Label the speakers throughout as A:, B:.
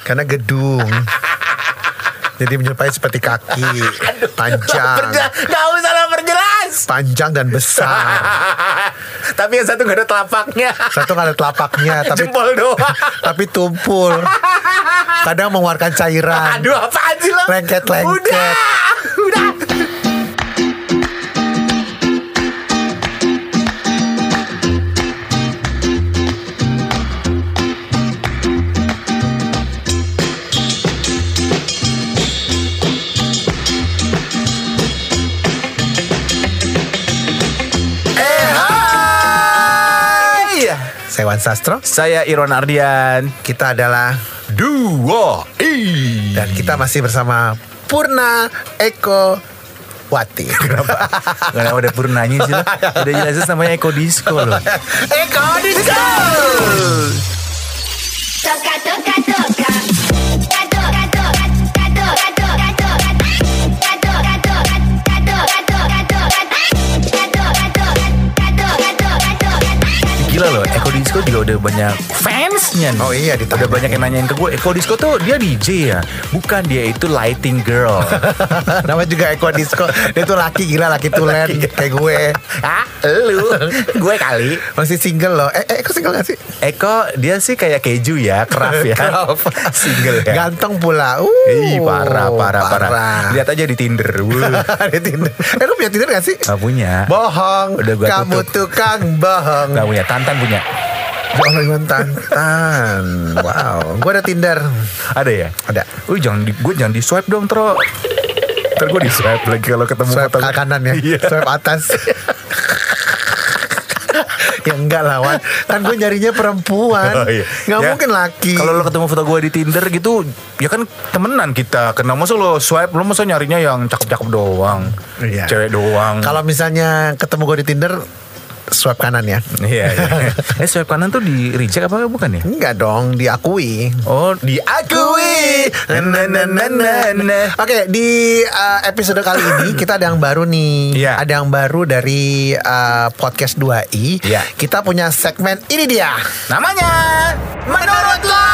A: Karena gedung. Jadi menyerupai seperti kaki
B: Perja-
A: panjang,
B: Nggak usah lah perjelas
A: panjang dan besar.
B: Tapi yang satu nggak ada telapaknya
A: Satu nggak ada telapaknya, tapi
B: Jempol doang
A: tapi tumpul. Kadang mengeluarkan cairan.
B: Aduh apaan sih lo
A: Lengket-lengket.
B: Udah Udah Eh, hai.
A: Saya Wan Sastro.
B: Saya Iron Ardian
A: Kita adalah
B: Duo I
A: dan kita masih bersama Purna Eko Wati.
B: Gak udah purnanya sih lo Udah jelas namanya Eko Disco loh
A: Eko Disco.
C: Toca, toca, toca. Gato, gato, gato, gato, gato, gato. Gato, gato, gato, gato, gato, gato. Gato, gato, gato, gato, gato.
B: Gila loh Eko Disco juga udah banyak fansnya nih.
A: Oh iya, ditanya.
B: Udah banyak yang nanyain ke gue Eko Disco tuh dia DJ ya Bukan dia itu lighting girl
A: Namanya juga Eko Disco. Dia tuh laki gila, laki tulen kayak gue.
B: Hah? Lu? Gue kali
A: Masih single loh. Eh, eh, Eko single gak sih?
B: Eko dia sih kayak keju ya Kerap ya Single ya
A: Ganteng pula. Uh,
B: Ih parah parah parah, Lihat aja di Tinder Wuh.
A: Di Tinder. Eh lu punya Tinder gak sih?
B: Gak punya
A: Bohong.
B: Udah gua
A: Kamu tukang bohong.
B: Gak punya Tantan punya
A: Jangan tantan. Wow. Gue ada Tinder.
B: Ada ya?
A: Ada.
B: Uy, jangan di, gue jangan di swipe dong, Tro. Ntar gue di swipe lagi kalau ketemu
A: Swipe ke
B: fotonya.
A: kanan ya.
B: Iya.
A: Swipe atas. ya enggak lah Wan Kan gue nyarinya perempuan
B: Oh, iya.
A: Nggak
B: Ya,
A: mungkin laki
B: Kalau lo ketemu foto gue di Tinder gitu, ya kan temenan kita. Kenapa masa lo swipe, lo masa nyarinya yang cakep-cakep doang,
A: Iya.
B: cewek doang.
A: Kalau misalnya ketemu gue di Tinder Swipe kanan ya
B: iya, iya. eh swipe kanan tuh di reject apa bukan ya?
A: Enggak dong Diakui
B: Oh, diakui.
A: Nah,
B: Na, na, na, na, na.
A: Oke di uh, episode kali ini kita ada yang baru nih,
B: Iya.
A: ada yang baru dari uh, podcast 2i.
B: Iya.
A: Kita punya segmen ini dia.
B: Namanya menurut lo.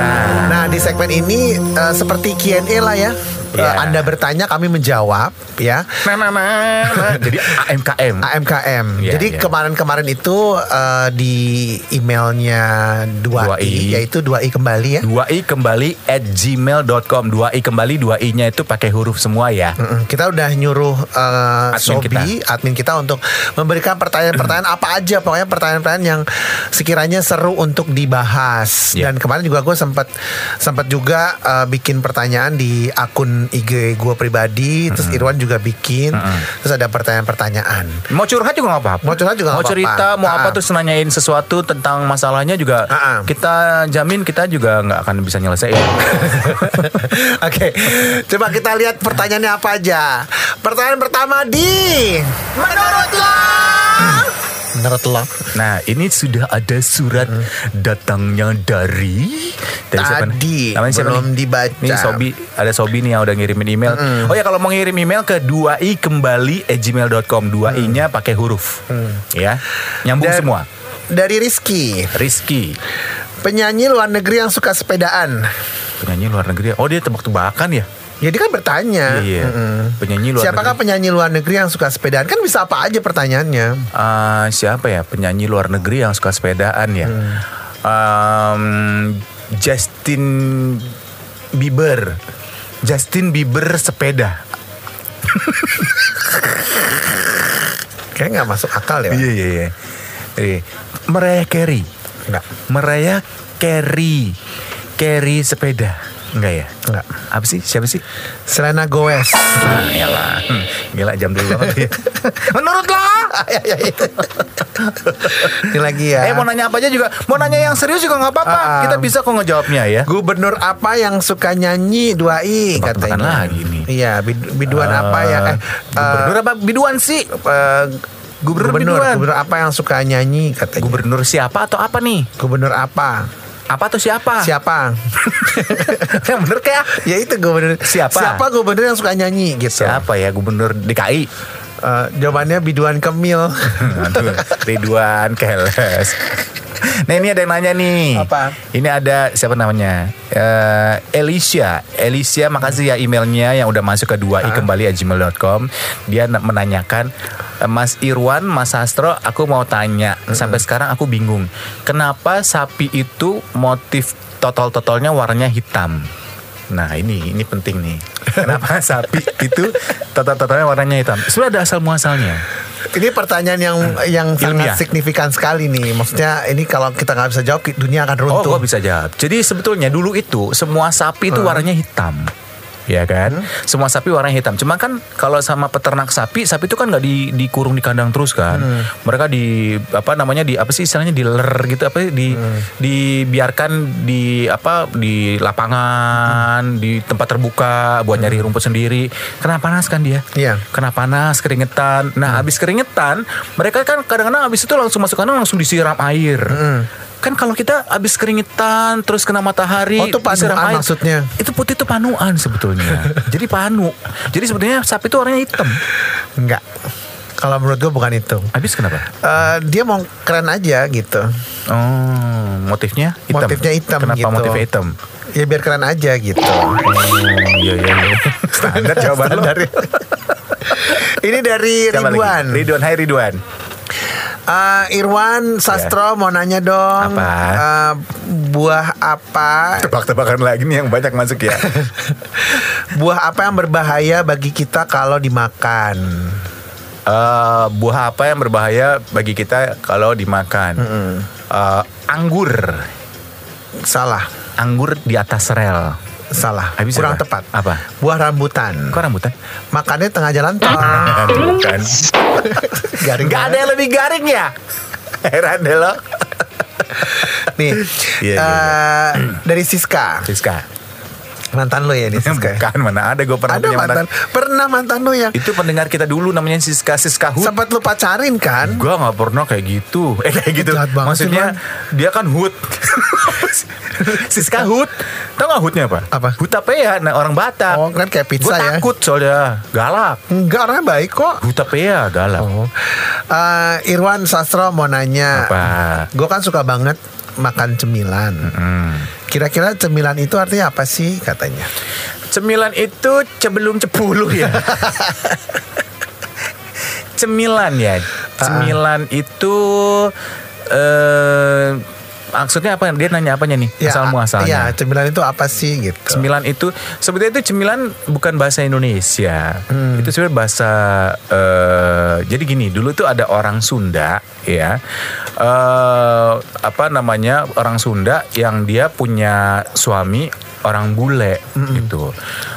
B: Nah,
A: Nah di segmen ini uh, seperti Q&A lah ya. Uh,
B: Iya.
A: Anda bertanya kami menjawab ya.
B: nah, nah, nah, nah. Jadi AMKM.
A: AMKM.
B: Iya,
A: Jadi
B: iya.
A: kemarin-kemarin itu uh, di emailnya 2i,
B: 2i.
A: yaitu 2i kembali ya.
B: 2i kembali at gmail.com 2i kembali 2i nya itu pakai huruf semua ya
A: Mm-mm. Kita udah nyuruh uh,
B: Admin
A: Sobi, admin kita untuk memberikan pertanyaan-pertanyaan apa aja, pokoknya pertanyaan-pertanyaan yang sekiranya seru untuk dibahas.
B: Iya.
A: Dan kemarin juga gue sempat sempat juga uh, bikin pertanyaan di akun IG gue pribadi, terus Irwan juga bikin, terus ada pertanyaan-pertanyaan.
B: mau curhat juga nggak apa-apa
A: Mau curhat juga
B: mau
A: nggak apa-apa.
B: cerita mau apa
A: Ah.
B: terus nanyain sesuatu tentang masalahnya juga
A: Ah, ah.
B: kita jamin kita juga nggak akan bisa nyelesain
A: Oke, coba kita lihat pertanyaannya apa aja. Pertanyaan pertama di
B: menurut lo
A: menurut lo
B: nah ini sudah ada surat
A: Hmm.
B: datangnya dari, dari
A: Tadi,
B: nih? Namanya siapa
A: belum
B: nih?
A: dibaca. Hmm.
B: Ini Sobi, ada Sobi nih yang udah ngirimin email. Oh ya kalau mau ngirim email ke 2i kembali at gmail.com. 2i-nya pakai huruf. Ya. Nyambung
A: Hmm. Dan-
B: semua.
A: dari Rizky,
B: Rizky
A: penyanyi luar negeri yang suka sepedaan.
B: Penyanyi luar negeri Oh dia tebak-tebakan ya
A: Jadi kan bertanya.
B: Iya
A: Mm-mm.
B: Penyanyi luar
A: hmm. Siapakah
B: negeri
A: penyanyi luar negeri yang suka sepedaan? Kan bisa apa aja pertanyaannya.
B: Ah, Siapa ya Penyanyi luar negeri yang suka sepedaan ya Em, Justin Bieber Justin Bieber sepeda
A: Kayak nggak masuk akal ya. Pak?
B: Iya iya iya Iya. Mariah Carey
A: Nggak.
B: Mariah Carey Carey sepeda Enggak ya
A: Nggak.
B: Apa sih Siapa sih
A: Selena Gomez.
B: Nah, elah. Hmm, Gila jam dulu banget ya. Menurut lo
A: Ini lagi ya.
B: Eh mau nanya apa aja juga Mau nanya yang serius juga gak apa-apa
A: Ah, ah.
B: Kita bisa kok ngejawabnya ya
A: Gubernur apa yang suka nyanyi 2i
B: Tebak-tebakan
A: katanya.
B: lagi nih.
A: Iya, bid- biduan apa
B: Eh,
A: yang eh
B: Gubernur apa biduan sih
A: eh,
B: Gubernur
A: gubernur,
B: biduan. Eh,
A: gubernur apa yang suka nyanyi katanya.
B: Gubernur siapa atau apa nih
A: Gubernur apa?
B: Apa atau siapa
A: Siapa?
B: Yang bener kayak
A: ya itu gubernur.
B: Siapa?
A: Siapa gubernur yang suka nyanyi gitu?
B: Siapa ya gubernur DKI
A: Eh, jawabannya biduan Kemil.
B: Aduh Ridwan Keles Nah ini ada yang nanya nih.
A: Apa?
B: Ini ada siapa namanya? Eh Alicia. Alicia makasih ya emailnya yang udah masuk ke 2i kembali at gmail.com. Dia na- menanyakan eh, Mas Irwan, Mas Sastro, aku mau tanya. Sampai sekarang aku bingung. Kenapa sapi itu motif totol-totolnya warnanya hitam? Nah ini ini penting nih. Kenapa sapi itu totol-totolnya warnanya hitam? Sebenarnya ada asal muasalnya.
A: Ini pertanyaan yang yang
B: Ilmiah.
A: sangat signifikan sekali nih. Maksudnya ini kalau kita nggak bisa jawab dunia akan
B: Oh,
A: runtuh.
B: gue bisa jawab. Jadi sebetulnya dulu itu semua sapi itu warnanya hitam. Ya kan, semua sapi warnanya hitam. Cuma kan kalau sama peternak sapi, sapi itu kan nggak di, dikurung di kandang terus kan. Mereka di apa namanya di apa sih istilahnya diler gitu apa sih? di dibiarkan di apa di lapangan, di tempat terbuka buat nyari rumput sendiri. Kena panas kan dia?
A: Iya.
B: Kena panas, keringetan. Nah, habis keringetan, mereka kan kadang-kadang habis itu langsung masuk kandang langsung disiram air kan kalau kita habis keringetan terus kena matahari
A: Oh, itu
B: disiram
A: panuan
B: air,
A: maksudnya.
B: itu putih itu panuan sebetulnya jadi panu jadi sebetulnya sapi itu warnanya hitam
A: Enggak. Kalau menurut gue bukan itu.
B: habis kenapa
A: Eh, dia mau keren aja gitu.
B: oh motifnya hitam
A: Motifnya hitam
B: kenapa
A: gitu.
B: motifnya hitam
A: Ya biar keren aja gitu.
B: oh, iya iya iya. standar jawaban lo
A: Standar. Ini dari
B: Siapa lagi?
A: Ridwan.
B: Ridwan Hai Ridwan
A: Eh, Irwan Sastro mau nanya dong.
B: Iya. Apa?
A: eh, buah apa?
B: tebak-tebakan lagi nih yang banyak masuk ya
A: buah apa yang berbahaya bagi kita kalau dimakan?
B: Eh, buah apa yang berbahaya bagi kita kalau dimakan Eh, anggur
A: Salah,
B: anggur di atas rel
A: salah.
B: Habis
A: Kurang
B: apa?
A: tepat.
B: Apa?
A: Buah rambutan.
B: kok rambutan
A: Makannya tengah jalan tol.
B: bukan.
A: Garing
B: Gak ada
A: banget.
B: yang lebih garing ya? Heran deh lo.
A: Nih,
B: Iya, iya,
A: eh, dari Siska.
B: Siska.
A: Mantan lo ya ini Siska.
B: Bukan, mana ada gue pernah
A: Ada
B: punya
A: mantan.
B: mantan.
A: Pernah mantan lo yang
B: Itu pendengar kita dulu namanya Siska Siska Hut.
A: sempat lu pacarin kan?
B: Gue gak pernah kayak gitu Eh kayak gitu
A: Jahat banget sih,
B: Maksudnya Dia kan Hut Siska Hut Tau gak Hutnya apa?
A: Apa?
B: Hut apa ya? Nah, orang Batak
A: Oh, kan kayak pizza
B: Gue
A: ya.
B: takut soalnya Galak
A: Enggak, orangnya baik kok.
B: Hut apa ya? Galak
A: Oh, Eh, Irwan Sastro mau nanya.
B: Apa?
A: Gue kan suka banget makan cemilan. Kira-kira cemilan itu artinya apa sih katanya?
B: Cemilan itu Cebelum cepuluh ya Cemilan ya Cemilan itu eh Maksudnya apa Dia nanya apanya nih
A: Iya,
B: Asal muasalnya
A: cemilan itu apa sih gitu?
B: Cemilan itu sebetulnya itu cemilan bukan bahasa Indonesia. Itu sebenarnya bahasa eh, jadi gini, dulu tuh ada orang Sunda ya. eh apa namanya? orang Sunda yang dia punya suami orang bule gitu.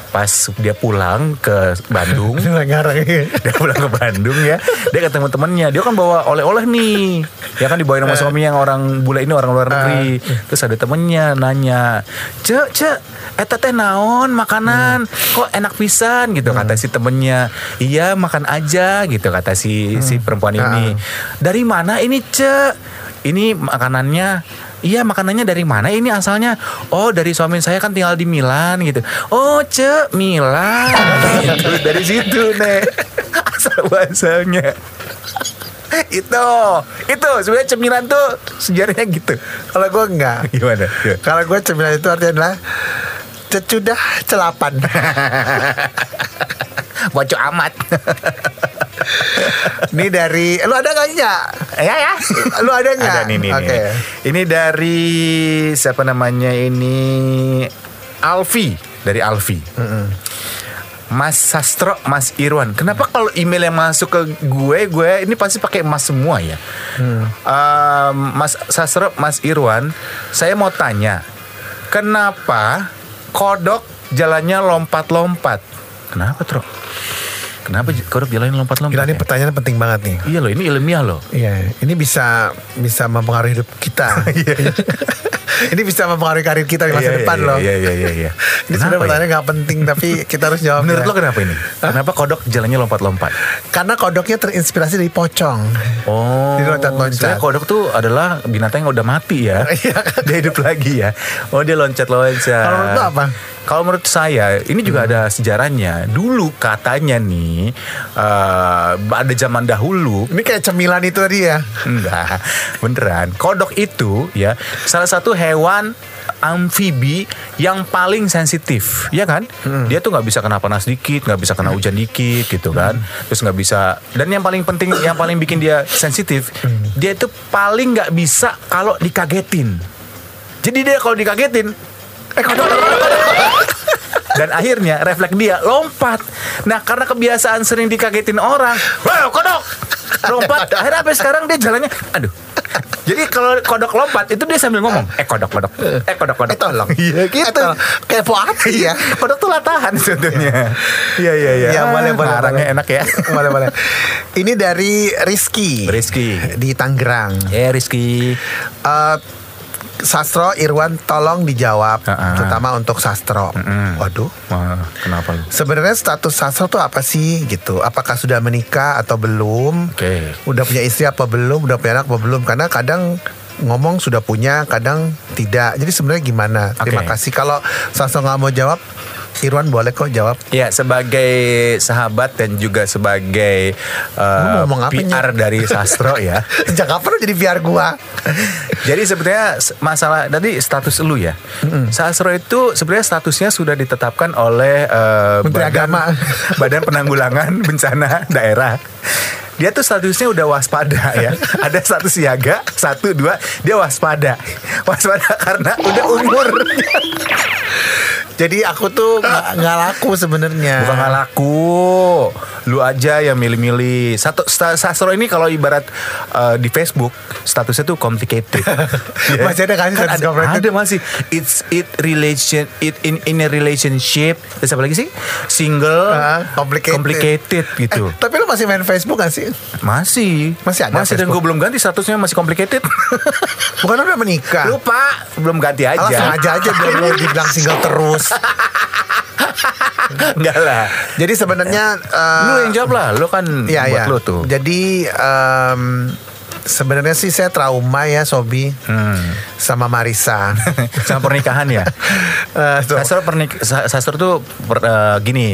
B: Pas dia pulang ke Bandung
A: Ini ngarang ini.
B: dia pulang ke Bandung ya dia ketemu temennya dia kan bawa oleh-oleh nih ya kan dibawain sama suami yang orang bule ini orang luar negeri terus ada temennya nanya cek cek eta teh naon makanan kok enak pisan gitu kata si temennya iya makan aja gitu kata si si perempuan ini dari mana ini cek ini makanannya Iya makanannya dari mana ini asalnya Oh dari suami saya kan tinggal di Milan gitu Oh ce Milan gitu. Dari situ nih Asal asalnya Itu Itu sebenarnya cemilan tuh sejarahnya gitu
A: Kalau gue enggak.
B: Gimana? Gimana?
A: Kalau gue cemilan itu artinya adalah cecudah celapan.
B: Boco amat
A: Ini dari lu ada nggak ya?
B: Ya ya
A: Lu ada nggak?
B: Ada nih nih,
A: Oke.
B: nih. Ini dari Siapa namanya ini Alfi Dari Alfi Mas Sastro, Mas Irwan. Kenapa kalau email yang masuk ke gue, gue ini pasti pakai Mas semua ya. Ehm, mas Sastro, Mas Irwan, saya mau tanya, kenapa kodok jalannya lompat-lompat? Kenapa, Tro? Kenapa j- kodok jalannya lompat-lompat?
A: Gila ini
B: ya?
A: pertanyaan penting banget nih.
B: Iya loh, ini ilmiah loh.
A: Iya, ini bisa bisa mempengaruhi hidup kita. ini bisa mempengaruhi karir kita di masa
B: Iya,
A: depan
B: iya,
A: loh.
B: Iya, iya, iya. iya.
A: Ini
B: Kenapa
A: sebenarnya
B: ya?
A: pertanyaan nggak penting tapi kita harus jawab.
B: Menurut
A: ya.
B: lo kenapa ini? Kenapa kodok jalannya lompat-lompat?
A: Karena kodoknya terinspirasi dari pocong.
B: Oh,
A: Jadi loncat-loncat.
B: sebenarnya kodok tuh adalah binatang yang udah mati ya.
A: Iya.
B: dia hidup lagi ya. Oh, dia loncat-loncat.
A: Kalau menurut lo apa? Hmm.
B: Kalau menurut saya ini juga ada sejarahnya. Dulu katanya nih eh ada zaman dahulu
A: Ini kayak cemilan itu tadi ya.
B: enggak beneran kodok itu ya salah satu hewan amfibi yang paling sensitif ya kan dia tuh nggak bisa kena panas dikit nggak bisa kena hujan dikit gitu kan terus nggak bisa dan yang paling penting yang paling bikin dia sensitif dia itu paling nggak bisa kalau dikagetin jadi dia kalau dikagetin eh kodok, kodok, kodok, kodok. dan akhirnya refleks dia lompat. Nah karena kebiasaan sering dikagetin orang, wow kodok lompat. Akhirnya sampai sekarang dia jalannya, aduh. Jadi kalau kodok lompat itu dia sambil ngomong, eh kodok kodok, eh kodok kodok.
A: Eh tolong.
B: Iya gitu.
A: Eh, tolong. Kepo apa ya?
B: Kodok tuh latahan sebetulnya. Iya iya iya.
A: Iya,
B: Ah,
A: boleh, boleh,
B: Ngarangnya
A: boleh.
B: enak ya.
A: boleh boleh. Ini dari Rizky.
B: Rizky.
A: di Tangerang.
B: Eh Rizky.
A: Eh, Sastro Irwan tolong dijawab
B: Heeh.
A: terutama untuk Sastro. Waduh.
B: Wah, kenapa lu?
A: Sebenarnya status Sastro tuh apa sih gitu? Apakah sudah menikah atau belum?
B: Oke.
A: Udah punya istri apa belum? Udah punya anak apa belum? Karena kadang ngomong sudah punya, kadang tidak. Jadi sebenarnya gimana? Terima
B: Oke.
A: kasih. Kalau Sastro nggak mau jawab, Irwan boleh kok jawab.
B: Ya sebagai sahabat dan juga sebagai
A: Lu
B: uh,
A: ngomong apa,
B: PR dari Sastro ya.
A: Jangan perlu jadi biar gua.
B: Jadi sebetulnya s- masalah tadi status lu ya. Sastro itu sebenarnya statusnya sudah ditetapkan oleh uh,
A: Menteri Agama.
B: Badan Penanggulangan Bencana Daerah. Dia tuh statusnya udah waspada ya. Ada status siaga satu dua dia waspada. Waspada karena udah umur.
A: Jadi aku tuh nggak nggak laku sebenarnya.
B: Bukan nggak laku. Lu aja yang milih-milih. Satu sta- Sastro ini kalau ibarat uh, di Facebook statusnya tuh complicated. Ya.
A: Masih ada kan status
B: ada,
A: complicated?
B: ada masih. It's it relation it in in a relationship. Terus apa lagi sih? Single,
A: Ah, complicated.
B: complicated gitu.
A: Eh, tapi lu masih main Facebook gak sih?
B: Masih.
A: Masih ada
B: Masih dan
A: Facebook?
B: gue belum ganti statusnya masih complicated.
A: Bukan lu udah menikah?
B: Lupa, belum ganti
A: Alah
B: aja.
A: sengaja aja biar lu dibilang single terus.
B: Enggak lah.
A: Jadi sebenarnya eh,
B: Lu yang jawab lah, lu kan
A: Iya
B: buat
A: iya.
B: lu tuh.
A: Jadi em, sebenarnya sih saya trauma ya Sobi
B: Hmm.
A: sama Marisa.
B: Sama pernikahan ya.
A: Eh, tuh.
B: Sastro pernik Sa- Sastro tuh per- eh, gini,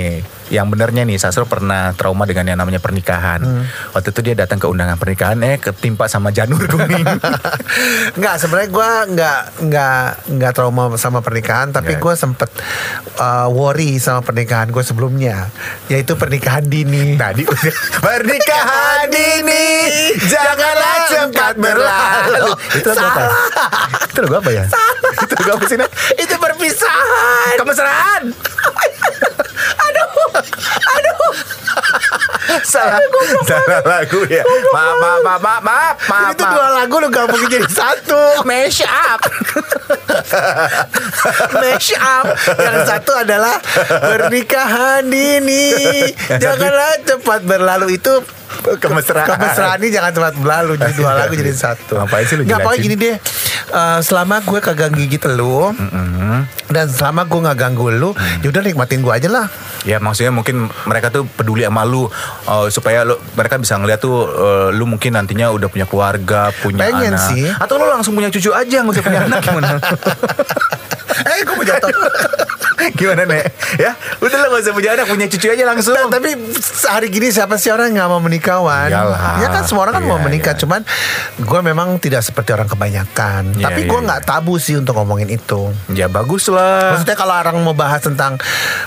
B: yang benernya nih Sastro pernah trauma dengan yang namanya pernikahan.
A: Hmm.
B: Waktu itu dia datang ke undangan pernikahan eh ketimpa sama janur kuning.
A: Enggak, sebenarnya gue nggak nggak nggak trauma sama pernikahan, tapi
B: Nggak.
A: gue sempet eh, worry sama pernikahan gue sebelumnya, yaitu pernikahan dini.
B: Tadi udah pernikahan ini janganlah cepat berlalu. Itu lagu apa?
A: Salah.
B: Itu lagu apa ya? Itu lagu apa sih? Nat?
A: Itu perpisahan.
B: Kemesraan. aduh, aduh. Salah, salah lagu ya. Maaf, maaf, maaf, maaf, maaf. maaf,
A: Itu
B: maaf.
A: dua lagu lu gak mungkin jadi satu.
B: Mash up.
A: Mash up. Yang satu adalah pernikahan dini. Janganlah cepat berlalu itu
B: Kemesraan.
A: Kemesraan ini jangan cepat berlalu Jadi dua lagu jadi satu
B: Iya, Ngapain sih lu
A: Nggak, pokoknya gini
B: jelasin?
A: deh Eh, Selama gue kagak gigit lu Dan selama gue gak ganggu lu
B: Mm.
A: Yaudah nikmatin gue aja lah
B: Ya maksudnya mungkin mereka tuh peduli sama lu uh, supaya lu mereka bisa ngeliat tuh uh, lu mungkin nantinya udah punya keluarga, punya
A: Pengen
B: anak.
A: sih.
B: Atau lu langsung punya cucu aja nggak usah punya anak gimana?
A: Eh gue mau jatuh
B: gimana Nek? Ya, udah lu nggak usah punya anak, punya cucu aja langsung.
A: Nah, tapi hari gini siapa sih orang yang nggak mau menikah Wan?
B: Iyalah.
A: Ya kan semua orang kan mau
B: Iya,
A: menikah,
B: iya.
A: cuman gue memang tidak seperti orang kebanyakan.
B: Iya,
A: tapi
B: iya,
A: gue
B: iya.
A: nggak tabu sih untuk ngomongin itu.
B: Ya bagus lah.
A: Maksudnya kalau orang mau bahas tentang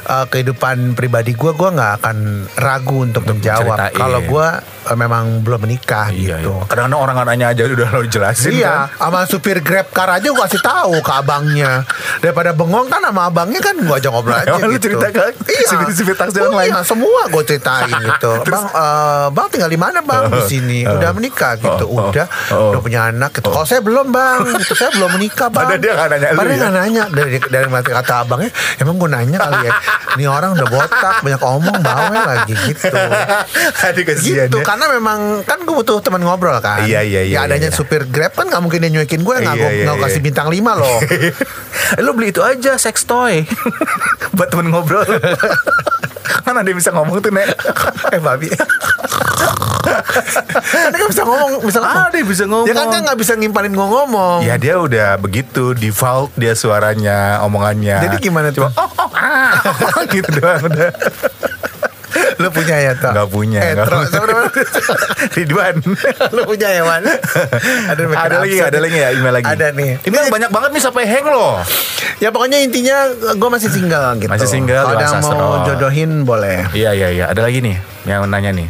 A: uh, kehidupan pribadi gue, gue nggak akan ragu untuk menjawab.
B: menceritain.
A: Kalau gue uh, memang belum menikah
B: Iya,
A: gitu.
B: iya. Kadang-kadang orang nanya aja udah lo jelasin kan.
A: Iya, sama supir Grab car aja gue kasih tahu ke abangnya. Daripada bengong kan sama abangnya kan gue ajak ngobrol aja
B: Emang lu
A: gitu.
B: cerita ke
A: iya.
B: supir-supir taksi
A: Oh,
B: online?
A: Iya, semua gue ceritain gitu. bang, eh, bang tinggal di mana bang? Di sini. Udah menikah gitu.
B: Oh, oh,
A: Udah,
B: oh.
A: udah punya anak gitu. Kalau saya belum bang, gitu. saya belum menikah bang.
B: Padahal dia nggak nanya lu,
A: Padahal
B: ya?
A: nggak nanya. Dari dari mati kata abangnya, emang gue nanya kali ya. Ini orang udah botak, banyak omong, bawel lagi gitu
B: kan. Aduh kasihan
A: gitu
B: ya.
A: karena memang kan gue butuh teman ngobrol kan
B: Iya, iya,
A: ya
B: iya,
A: adanya
B: iya.
A: supir grab kan nggak mungkin dia nyuekin gue nggak
B: Iya,
A: gue
B: iya,
A: nggak
B: iya.
A: kasih bintang 5 loh
B: Eh, lu beli itu aja sex toy buat temen ngobrol kan ada yang bisa ngomong tuh nek
A: eh babi kan dia nggak bisa ngomong bisa
B: Ah, dia bisa ngomong.
A: ya kan kan nggak bisa ngimpanin gue ngomong
D: Iya,
B: ya dia udah begitu default dia suaranya omongannya
D: iya.
A: jadi gimana tuh
B: oh oh ah
D: gitu doang udah.
A: Lu punya ya toh?
D: Gak punya.
A: Eh,
D: nggak
A: Tro,
D: punya.
A: sama namanya?
D: Ridwan.
A: Lu punya ya Wan? Aduh, makin
D: ada lagi,
A: absurd.
D: ada lagi ya email lagi.
A: Ada nih.
D: Email banyak banget nih sampai hang loh.
A: Ya pokoknya intinya gue masih single gitu.
D: Masih single,
A: Kalau ada yang
D: Iwan
A: mau
D: Sastro.
A: jodohin boleh.
D: Iya iya iya, ada lagi nih yang nanya nih.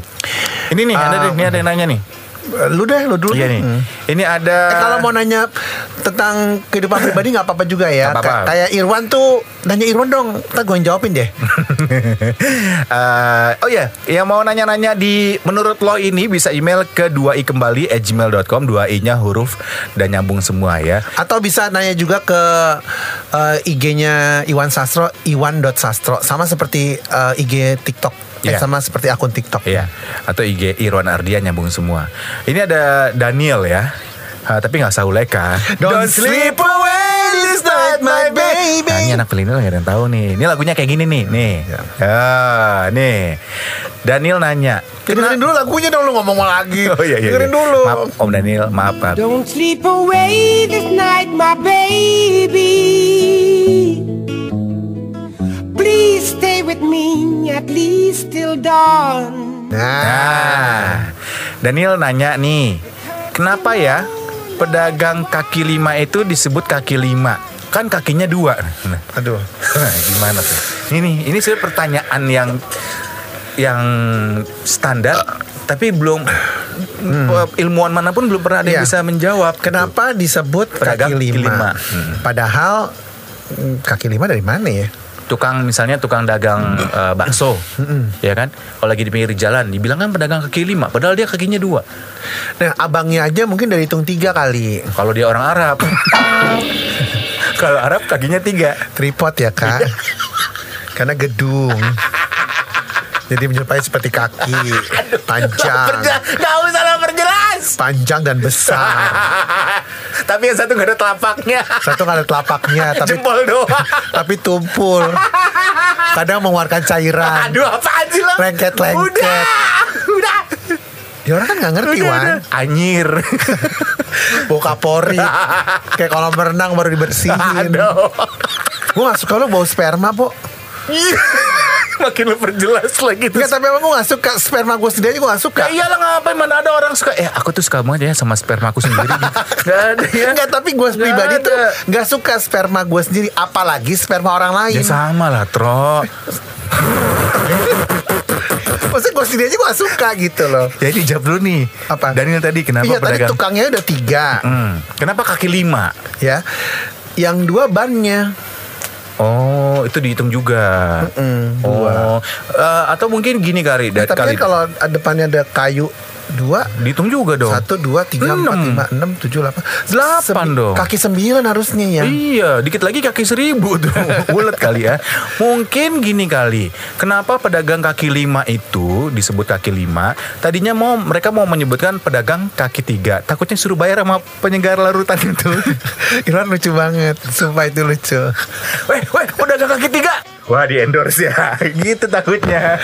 D: Ini nih,
A: Ah,
D: ada nih, ini ada yang nanya nih.
A: Lu deh, lu dulu.
D: Iya nih.
A: Hmm.
D: Ini ada
A: Eh, kalau mau nanya tentang kehidupan pribadi nggak apa-apa juga ya.
D: Nggak apa-apa.
A: Ka- Kayak Irwan tuh nanya Irwan dong, kita gue yang jawabin deh.
D: Eh, oh ya, yang mau nanya-nanya di menurut lo ini bisa email ke 2i kembali at gmail.com 2i-nya huruf dan nyambung semua ya.
A: Atau bisa nanya juga ke eh, IG-nya Iwan Sastro, iwan.sastro. Sama seperti eh, IG TikTok. Eh,
D: Iya.
A: sama seperti akun TikTok.
D: Iya, atau IG Irwan Ardian nyambung semua. Ini ada Daniel ya. Ah, tapi nggak Sauleka.
A: Don't sleep
D: away this
A: night, my baby.
D: Nah, ini anak milenial nggak ada yang tahu nih. Ini lagunya kayak gini nih, nih.
A: Ya.
D: Ah, nih. Daniel nanya.
A: Dengerin dulu lagunya dong lu ngomong lagi.
D: Oh iya iya.
A: Dengerin
D: iya.
A: dulu.
D: Maaf Om Daniel, maaf Pak.
E: Don't sleep away this night, my baby. Please stay with me at least till dawn.
A: Nah,
D: Nah, Daniel nanya nih, kenapa ya pedagang kaki lima itu disebut kaki lima? Kan kakinya dua. Nah,
A: aduh.
D: Nah, gimana tuh? Ini ini sebenarnya pertanyaan yang yang standar, tapi belum eh, ilmuwan manapun belum pernah ada yang
A: Hmm. Iya.
D: bisa menjawab. Kan
A: Kenapa disebut
D: Pedagang
A: kaki
D: kaki lima. Hmm.
A: lima? Padahal mm, kaki lima dari mana ya?
D: tukang misalnya tukang dagang eh, bakso, ya kan? Kalau lagi di pinggir jalan, dibilang kan pedagang kaki lima, padahal dia kakinya dua.
A: Nah, abangnya aja mungkin dari hitung tiga kali.
D: Kalau dia orang Arab. Kalau Arab kakinya tiga.
A: Tripod ya, Kak. Karena gedung. Jadi menyerupai seperti kaki
D: Ah.
A: panjang,
D: Gak usah lah perjelas.
A: panjang dan besar.
D: Ah. Tapi yang satu gak ada telapaknya.
A: Satu nggak ada telapaknya, tapi
D: Jempol doang.
A: tapi tumpul. Kadang mengeluarkan cairan.
D: Aduh apaan sih lo?
A: Lengket-lengket.
D: Udah. Udah.
A: Ya orang kan nggak ngerti,
D: Udah,
A: Wan.
D: udah. Anjir.
A: Bau kapori. Kayak kolam renang baru dibersihin.
D: Aduh.
A: Gue gak suka lu bau sperma, Po.
D: Makin lu perjelas lagi tuh.
A: Enggak, tapi emang gue gak suka. Sperma gue sendiri aja gue gak suka.
D: Ya iyalah ngapain mana ada orang suka Eh aku tuh suka banget ya sama sperma aku sendiri gitu. Gak ada ya
A: Enggak, tapi gue
D: Nggak
A: pribadi
D: ada.
A: tuh gak suka sperma gue sendiri, apalagi sperma orang lain.
D: Ya sama lah Tro
A: Maksudnya gue sendiri aja gue gak suka gitu loh.
D: Jadi jawab dulu nih
A: Apa?
D: Daniel tadi kenapa
A: iya, tadi
D: pedagang
A: tukangnya udah tiga,
D: Hmm, Kenapa kaki lima?
A: ya. Yang dua bannya.
D: Oh, itu dihitung juga. oh, Eh, atau mungkin gini kali, dari
A: tapi
D: kali
A: kan kalau depannya ada kayu dua,
D: dihitung juga dong.
A: satu, dua, tiga, empat,
D: Enam.
A: lima, enam, tujuh, delapan,
D: Delapan
A: Sembi-
D: dong.
A: Kaki sembilan harusnya ya.
D: Iya, dikit lagi kaki seribu tuh Bulat kali ya Mungkin gini kali Kenapa pedagang kaki lima itu Disebut kaki lima Tadinya mau mereka mau menyebutkan pedagang kaki tiga Takutnya suruh bayar sama penyegar larutan itu
A: Irwan lucu banget, sumpah itu lucu.
D: Weh, weh, pedagang kaki tiga Wah di endorse ya Gitu takutnya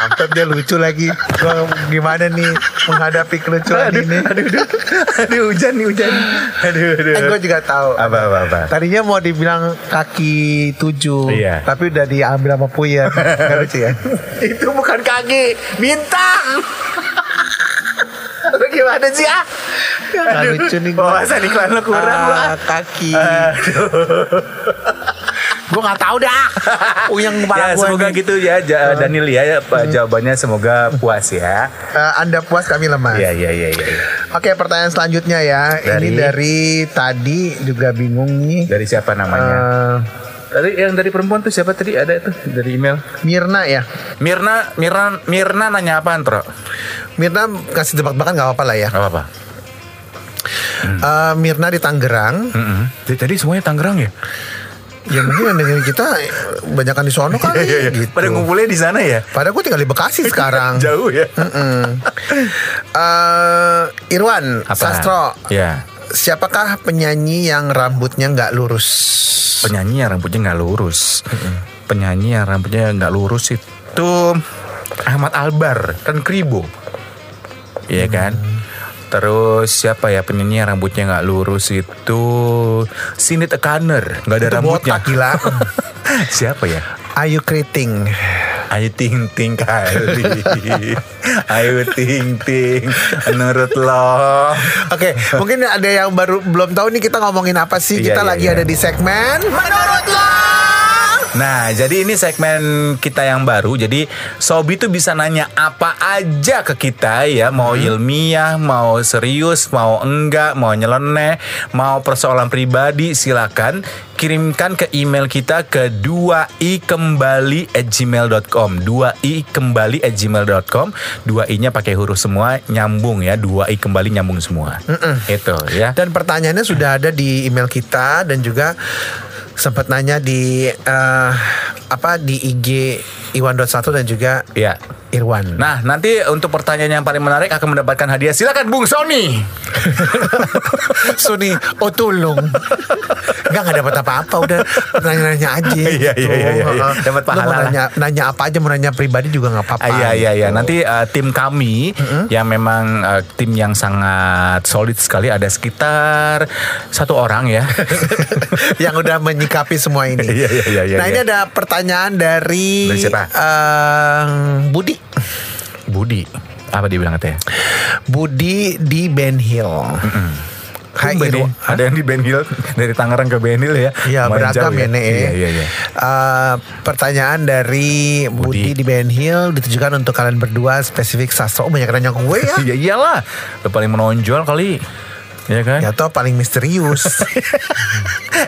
A: Sampai dia lucu lagi. Gua gimana nih menghadapi kelucuan ini?
D: aduh, aduh, aduh, hujan nih hujan. Aduh, aduh.
A: Eh, gue juga tahu.
D: Apa, apa, apa?
A: Tadinya mau dibilang kaki tujuh,
D: Iya.
A: tapi udah diambil sama Puya. Gak lucu ya?
D: Itu bukan kaki, bintang. Lu gimana sih ah?
A: Gak lucu nih gue.
D: Wawasan iklan lu kurang lu, ah.
A: kaki. gue gak tahu dah. Uyang kepala
D: Ya,
A: gue.
D: semoga
A: nih.
D: gitu ya, Ja- Daniel ya, ya, Pak. jawabannya semoga puas ya.
A: Eh, anda puas kami lemah.
D: Iya, iya, iya, iya. iya.
A: Oke pertanyaan selanjutnya ya. Ini
D: Dari?
A: dari tadi juga bingung nih.
D: Dari siapa namanya?
A: Eh,
D: Dari yang dari perempuan tuh siapa tadi ada tuh dari email?
A: Mirna ya.
D: Mirna, Mirna, Mirna nanya apaan, Tro?
A: Mirna kasih tebak-tebakan gak apa-apa lah ya.
D: Gak apa-apa. Hmm.
A: Eh, Mirna di Tangerang.
D: Mm-mm. Jadi Tadi semuanya Tangerang ya?
A: Ya mungkin yang dengerin kita banyakan di sono kali. gitu.
D: Iya, Pada ngumpulnya di sana ya?
A: Padahal gue tinggal di Bekasi sekarang.
D: Jauh ya?
A: Mm-mm. Eh, Irwan
D: Apaan?
A: Sastro.
D: Ya.
A: Siapakah penyanyi yang rambutnya nggak lurus?
D: penyanyi yang rambutnya nggak lurus penyanyi yang rambutnya nggak lurus itu Ahmad Albar kan kribo Iya kan Terus siapa ya penyanyi yang rambutnya nggak lurus itu Sinit Ekaner nggak ada
A: Itu
D: rambutnya.
A: botak, gila.
D: siapa ya?
A: Ayu Kriting.
D: Ayu ting ting kali. Ayu ting ting. Menurut lo.
A: Oke, mungkin ada yang baru belum tahu nih kita ngomongin apa sih?
D: Iya,
A: kita
D: iya,
A: lagi
D: iya.
A: ada di segmen
D: Menurut lo. Nah, jadi ini segmen kita yang baru. Jadi Sobi tuh bisa nanya apa aja ke kita ya, mau ilmiah, mau serius, mau enggak, mau nyeleneh, mau persoalan pribadi, silakan kirimkan ke email kita ke 2i kembali gmail.com 2i kembali gmail.com 2i nya pakai huruf semua nyambung ya 2i kembali nyambung semua itu ya
A: dan pertanyaannya sudah ada di email kita dan juga sempat nanya di eh, apa di IG Iwan Dot satu dan juga
D: ya
A: Irwan.
D: Nah, nanti untuk pertanyaan yang paling menarik akan mendapatkan hadiah. Silakan Bung Sony.
A: Suni, oh tolong. Enggak enggak dapat apa-apa, udah nanya-nanya aja.
D: Iya,
A: gitu.
D: iya, iya, iya, iya.
A: Heeh.
D: Dapat
A: Lu mau
D: pahala lah.
A: Nanya, nanya apa aja, mau nanya pribadi juga nggak apa-apa.
D: Ah, Iya, iya, iya.
A: gitu.
D: Nanti eh, tim kami yang memang eh, tim yang sangat solid sekali ada sekitar satu orang ya.
A: yang udah menyikapi semua ini.
D: Iya, iya, iya, iya,
A: Nah ini
D: iya.
A: ada pertanyaan dari,
D: Dari siapa?
A: em, Budi.
D: Budi. Apa dia bilang katanya?
A: Budi di Ben Hill. Hai
D: Tumben ya.
A: Irwan.
D: Ada yang di Ben Hill dari Tangerang ke Ben Hill ya.
A: Ya
D: Lumayan
A: beragam
D: jauh
A: ya, Nek.
D: Iya, iya, iya.
A: Eh, pertanyaan dari Budi,
D: Budi.
A: di Ben Hill ditujukan untuk kalian berdua spesifik sastra. Oh banyak yang nanya ke gue ya.
D: Iya iyalah. Lo paling menonjol kali. Iya kan?
A: Ya toh paling misterius.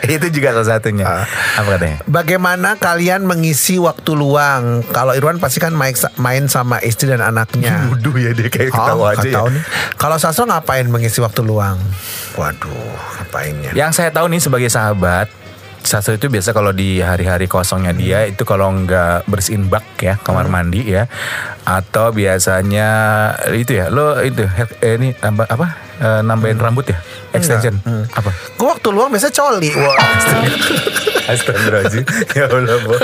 D: Itu juga salah satunya. Apa katanya?
A: Bagaimana kalian mengisi waktu luang? Kalau Irwan pasti kan main, main sama istri dan anaknya.
D: Bodoh ya dia kayak
A: Oh,
D: ketawa aja
A: nggak
D: ya.
A: tahu nih. Kalau Sasro ngapain mengisi waktu luang? Waduh, ngapainnya?
D: Yang saya tahu nih sebagai sahabat Satu itu biasa kalau di hari-hari kosongnya dia itu kalau nggak bersihin bak ya kamar mandi ya atau biasanya itu ya lo itu hair- eh, ini nambah apa Eh, nambahin rambut ya extension apa
A: Gue waktu luang biasanya coli. Wah,
D: Astagfirullahaladzim Ya Allah Bo.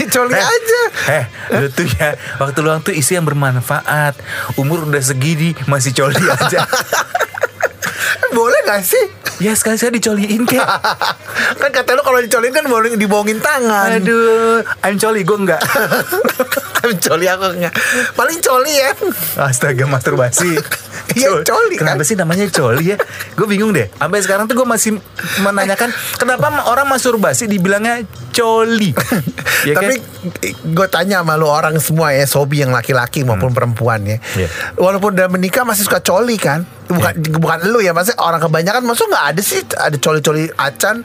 A: Kecuali aja.
D: Eh lu tuh ya Waktu luang tuh isi yang bermanfaat Umur udah segini Masih coli aja
A: boleh gak sih?
D: Ya sekali-sekali dicoliin kek
A: kan kata lu kalau dicolin kan boleh dibohongin tangan. Kan
D: Aduh I'm coli gue enggak
A: coli aku enggak. Paling coli ya.
D: Astaga masturbasi
A: Iya,
D: Col-
A: coli kan?
D: Kenapa sih namanya coli ya Gue bingung deh Sampai sekarang tuh gue masih menanyakan Kenapa ma- orang masturbasi dibilangnya coli Ya
A: Tapi
D: kan?
A: gue tanya sama lu orang semua ya Sobi yang laki-laki maupun perempuan ya
D: Hmm. Iya.
A: Walaupun udah menikah masih suka coli kan Bukan bukan lu ya Maksudnya orang kebanyakan Maksudnya gak ada sih Ada coli-coli acan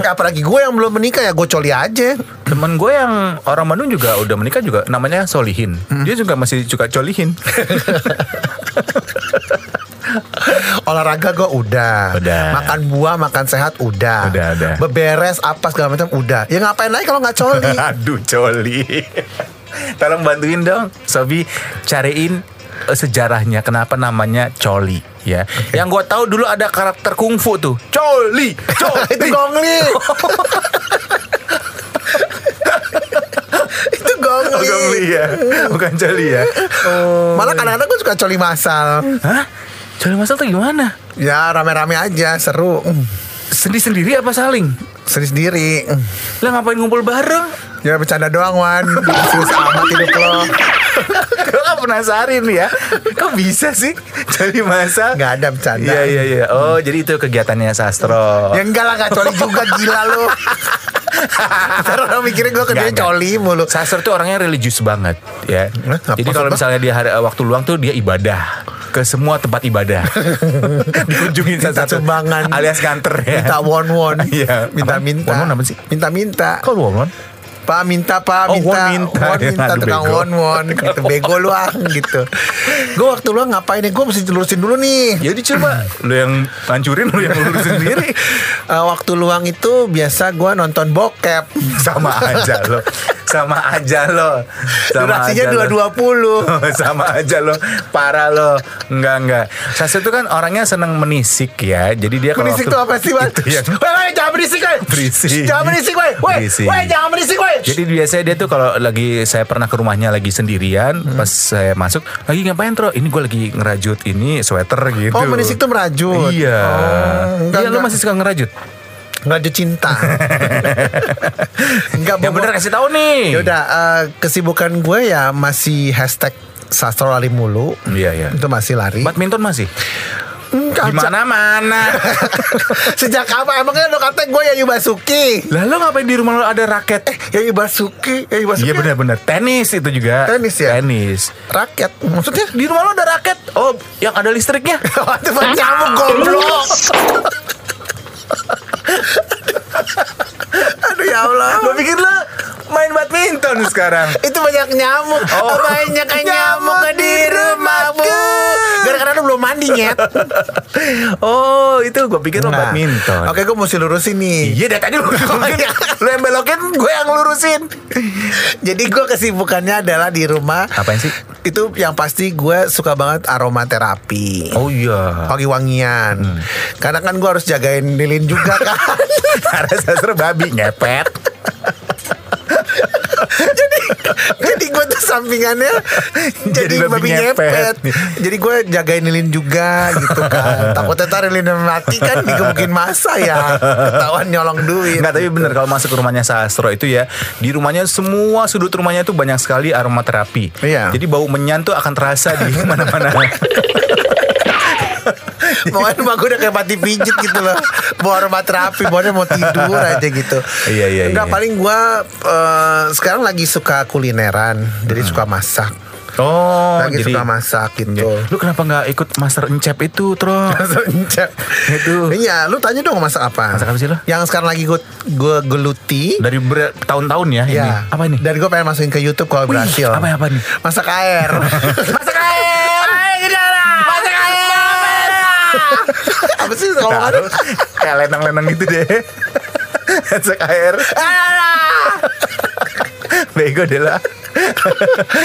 A: Apalagi gue yang belum menikah ya Gue coli aja
D: Temen gue yang orang Bandung juga udah menikah juga Namanya Solihin Dia juga masih suka colihin
A: Olahraga gue udah.
D: Udah.
A: Makan buah, makan sehat udah.
D: Udah, udah.
A: Beberes apa segala macam udah. Ya ngapain lagi kalau nggak coli?
D: Aduh coli Tolong bantuin dong Sobi cariin eh, sejarahnya kenapa namanya coli ya. Yang gue tahu dulu ada karakter kungfu tuh. Coli,
A: Itu
D: coli.
A: gongli. Itu gongli.
D: Oh, gongli ya. Bukan coli ya. Oh.
A: Malah kadang-kadang gue suka coli masal.
D: Hah? Coli masal tuh gimana?
A: Ya rame-rame aja seru. Mm.
D: Sendiri-sendiri apa saling?
A: Sendiri sendiri. Mm.
D: Lah ngapain ngumpul bareng?
A: Ya bercanda doang Wan. Serius amat hidup lo.
D: Gue gak penasarin ya Kok bisa sih Coli masal
A: Nggak ada bercanda.
D: Iya iya iya Oh jadi itu kegiatannya Sastro
A: Hmm. Ya enggak lah gak coli juga gila lo. Ntar orang mikirin gue kerjanya
D: Nggak, nggak.
A: coli mulu.
D: Sastra tuh orangnya religius banget ya.
A: Hah, apa
D: Jadi kalau
A: maksud
D: misalnya dia hari- eh, waktu luang tuh dia ibadah ke semua tempat ibadah. Dikunjungi
A: Minta
D: Sastra
A: sumbangan.
D: alias kantor ya.
A: Minta won-won
D: Iya.
A: Minta-minta
D: Won-won apa sih?
A: Minta-minta
D: Kok lu won?
A: Pak minta pak
D: Oh,
A: minta
D: won minta.
A: won
D: Ya,
A: minta
D: aduh,
A: tukang
D: bego.
A: won won gitu bego lu ah gitu gue waktu lu ngapain nih gue mesti telusin dulu nih
D: Jadi Ya coba lu yang hancurin lu yang lurus sendiri.
A: Eh, waktu luang itu biasa gue nonton bokep
D: Sama aja lo.
B: sama aja lo. Sama
A: Durasinya
B: aja lo.
A: 2.20
B: sama aja lo parah lo enggak enggak Sasha tuh kan orangnya seneng menisik ya jadi dia kalau
A: Berisik tuh
B: waktu-
A: apa sih man?
B: Itu yang-
A: Woi woi jangan berisik woi
B: kan? Berisik.
A: Shh, Jangan berisik woi Woi
B: Berisik.
A: woi jangan berisik woi
B: jadi biasanya dia tuh kalau lagi saya pernah ke rumahnya lagi sendirian
D: Hmm.
B: pas saya masuk lagi ngapain tro ini gue lagi ngerajut ini sweater gitu
A: Oh menisik tuh merajut
B: iya
A: Oh, enggak,
B: iya lo
A: enggak.
B: masih suka ngerajut
A: Nggak ada cinta Enggak
B: yang Ya bener kasih tahu
D: Ya
B: nih
A: Yaudah eh, Kesibukan gue ya masih hashtag Sastro lari mulu
B: Iya, iya.
A: Itu masih lari
B: badminton masih
A: Enggak,
B: di mana mana
A: Sejak kapan emangnya lo kata gue Yayu Basuki?
B: lah lo ngapain di rumah lo ada raket
A: Yayu Basuki, Yayu Basuki.
B: Iya benar-benar tenis itu juga
A: Tenis ya?
B: tenis
A: Rakyat, maksudnya?
B: di rumah lo ada raket oh yang ada listriknya
A: Waktu nyamuk goblok.
B: aduh ya allah lo pikir lo main badminton sekarang
A: Itu banyak nyamuk.
B: Oh.
A: Oh, banyak nyamuk
B: Nyamuk
A: di Nah.
B: di
A: rumahmu.
B: rumahku.
A: Gara-gara lu belum mandi nyet.
B: oh itu gue pikir lo
A: Nah,
B: badminton
A: Oke, gue mesti lurusin nih.
B: iya dari tadi lo ngomongin. lo yang belokin gue yang lurusin
A: Jadi gue kesibukannya adalah di rumah.
B: Apaan sih?
A: Itu yang pasti gue suka banget aromaterapi.
B: oh iya Hmm.
A: Wangi-wangian. Karena kan gue harus jagain lilin juga kan.
B: karena sastra babi ngepet
A: jadi gue tuh sampingannya jadi,
B: Jadi babi
A: babi
B: ngepet.
A: ngepet. Jadi gue jagain lilin juga gitu kan. Takutnya ntar lilin mati kan digebukin masa ya. Ketahuan nyolong duit.
B: Enggak tapi bener kalau masuk ke rumahnya Sastro itu ya Di rumahnya semua sudut rumahnya itu banyak sekali aromaterapi
A: Iya.
B: Jadi bau menyan tuh akan terasa di mana-mana
A: Pokoknya rumah gue kan udah kayak mati pijit gitu loh Bawa rumah terapi Pokoknya mau tidur aja gitu
B: Iya, iya,
A: Enggak
B: iya.
A: paling gue eh, Sekarang lagi suka kulineran Jadi suka masak
B: Hmm. Oh Iya.
A: Lagi suka masak gitu
B: Lu kenapa nggak ikut Master Encep itu, Tro?
A: Sencet.
B: Itu.
A: Iya, lu tanya dong masak apa?
B: Masak apa sih lu?
A: Yang sekarang lagi gue gue geluti.
B: Dari ber- tahun-tahun ya, ini.
A: Ya.
B: Apa ini?
A: Dan gue pengen masukin ke YouTube kalau
B: Wih,
A: berhasil.
B: apa- apa nih?
A: Masak air. masak air. Masak air. apa sih ngomongannya?
B: Taruh, Kayak lenang-lenang gitu deh. Masak air. Ah! Bego deh lah.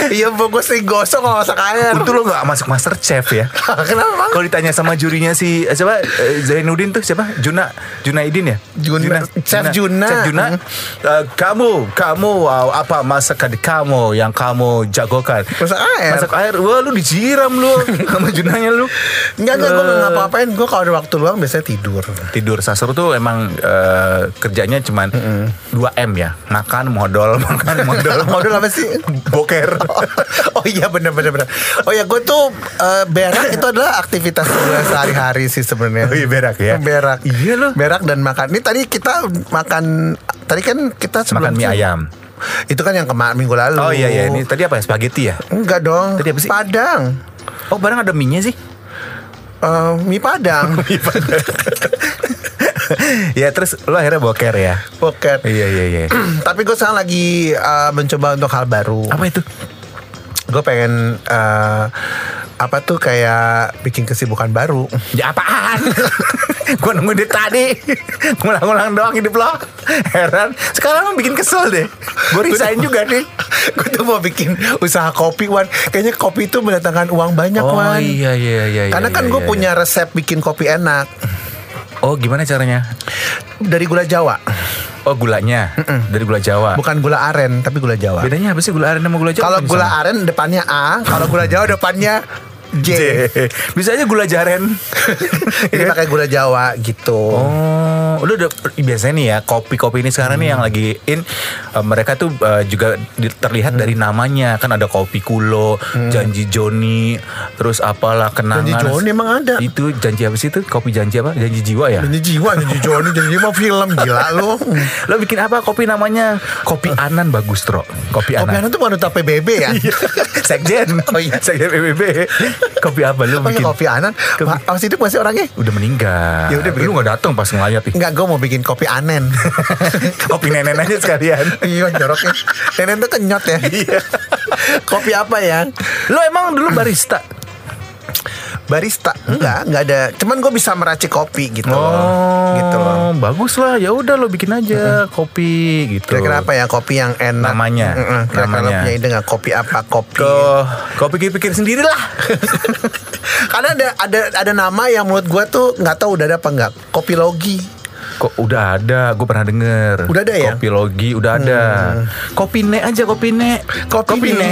A: Iya, bu, gue sering gosong kalau masak air.
B: Untung lo nggak masuk Master Chef ya.
A: Kenapa? Bang?
B: Kalau ditanya sama jurinya si eh, siapa eh, Zainuddin tuh siapa Juna Junaidin ya
A: Juna- Chef Juna.
B: Chef Juna
A: Hmm.
B: eh, kamu kamu wow, apa masakan kamu yang kamu jagokan
A: Masak air.
B: masak air wah lu dijiram lu sama Junanya lu
A: Enggak, enggak, gue
B: Eh,
A: ngapa-ngapain Gue kalau ada waktu luang biasanya tidur
B: tidur sasur tuh emang eh, kerjanya cuman
A: Hmm.
B: 2 m ya makan modal makan modal
A: Model apa sih?
B: boker
A: oh iya bener bener bener Oh ya gue tuh eh, berak itu adalah aktivitas gue sehari-hari sih sebenarnya
B: Oh iya, berak ya?
A: Berak
B: Iya loh.
A: Berak dan makan Ini tadi kita makan Tadi kan kita sebelum
B: makan mie ayam
A: Itu kan yang kemarin minggu lalu
B: oh iya iya ini tadi apa ya spaghetti ya
A: Enggak dong
B: Tadi apa sih?
A: Padang
B: oh barang ada mie nya sih
A: Eh, Mie padang
B: Iya, ya terus lo akhirnya boker ya
A: Pocket
B: iya iya iya
A: Tapi gue sekarang lagi eh, mencoba untuk hal baru
B: apa itu
A: gue pengen eh, apa tuh kayak bikin kesibukan baru
B: ya apaan gue nunggu dari tadi ngulang-ngulang doang hidup lo heran sekarang lo bikin kesel deh gue resign juga nih
A: gue tuh mau bikin usaha kopi wan kayaknya kopi itu mendatangkan uang banyak
B: oh
A: wan
B: iya iya iya
A: karena
B: iya,
A: kan
B: iya,
A: gue
B: iya.
A: punya resep bikin kopi enak
B: oh gimana caranya
A: dari gula jawa
B: oh gulanya dari gula jawa
A: bukan gula aren tapi gula jawa
B: bedanya apa sih gula aren sama gula jawa
A: kalau
B: Bisa.
A: gula aren depannya a kalau gula jawa depannya j,
B: J. bisa aja gula jaren
A: jadi pakai gula jawa gitu
B: Oh, lu udah biasanya nih ya kopi-kopi ini sekarang nih yang lagi in eh, mereka tuh eh, juga di- terlihat dari namanya kan ada kopi kulo, janji Joni, terus apalah kenangan.
A: Janji Joni emang ada?
B: Itu janji apa sih itu? Kopi janji apa? Janji jiwa ya?
A: janji jiwa janji joni janji mau film gila lo
B: Lo bikin apa kopi namanya? Kopi Anan bagus, Tro. Hmm. Kopi
A: kopi anan
B: Anan.
A: tuh wanita pbb ya
B: Sekjen.
A: Oh iya.
B: Sekjen PBB. Kopi apa lu
A: Oh, iya,
B: bikin?
A: kopi anan
B: Kopi-
A: Ma- masih hidup masih orangnya
B: Udah meninggal.
A: Ya udah, bikin.
B: lu gak datang pas ngelayat ih.
A: Enggak, gue mau bikin kopi anen.
B: kopi nenek aja sekalian.
A: iya, joroknya. Anen tuh kenyot ya.
B: Iya.
A: kopi apa ya?
B: Lo emang dulu barista? Hmm. Oh.
A: Barista. Enggak, enggak ada. Cuman gue bisa meracik kopi gitu loh. Gitu loh.
B: bagus lah ya udah lo bikin aja kopi gitu
A: Kira-kira apa ya kopi yang enak?
B: Namanya.
A: Mm-mm. Kira-kira lo
B: Namanya.
A: punya ide nggak kopi apa? Kopi.
B: Ke, kau pikir-pikir sendiri lah
A: Karena ada ada ada nama yang menurut gua tuh nggak tahu udah ada apa nggak. Kopi logi.
B: Kok udah ada, gue pernah denger
A: Udah ada ya? Hmm.
B: Kopi Logi, udah ada Kopi Ne aja, Kopi Ne
A: Kopi Ne.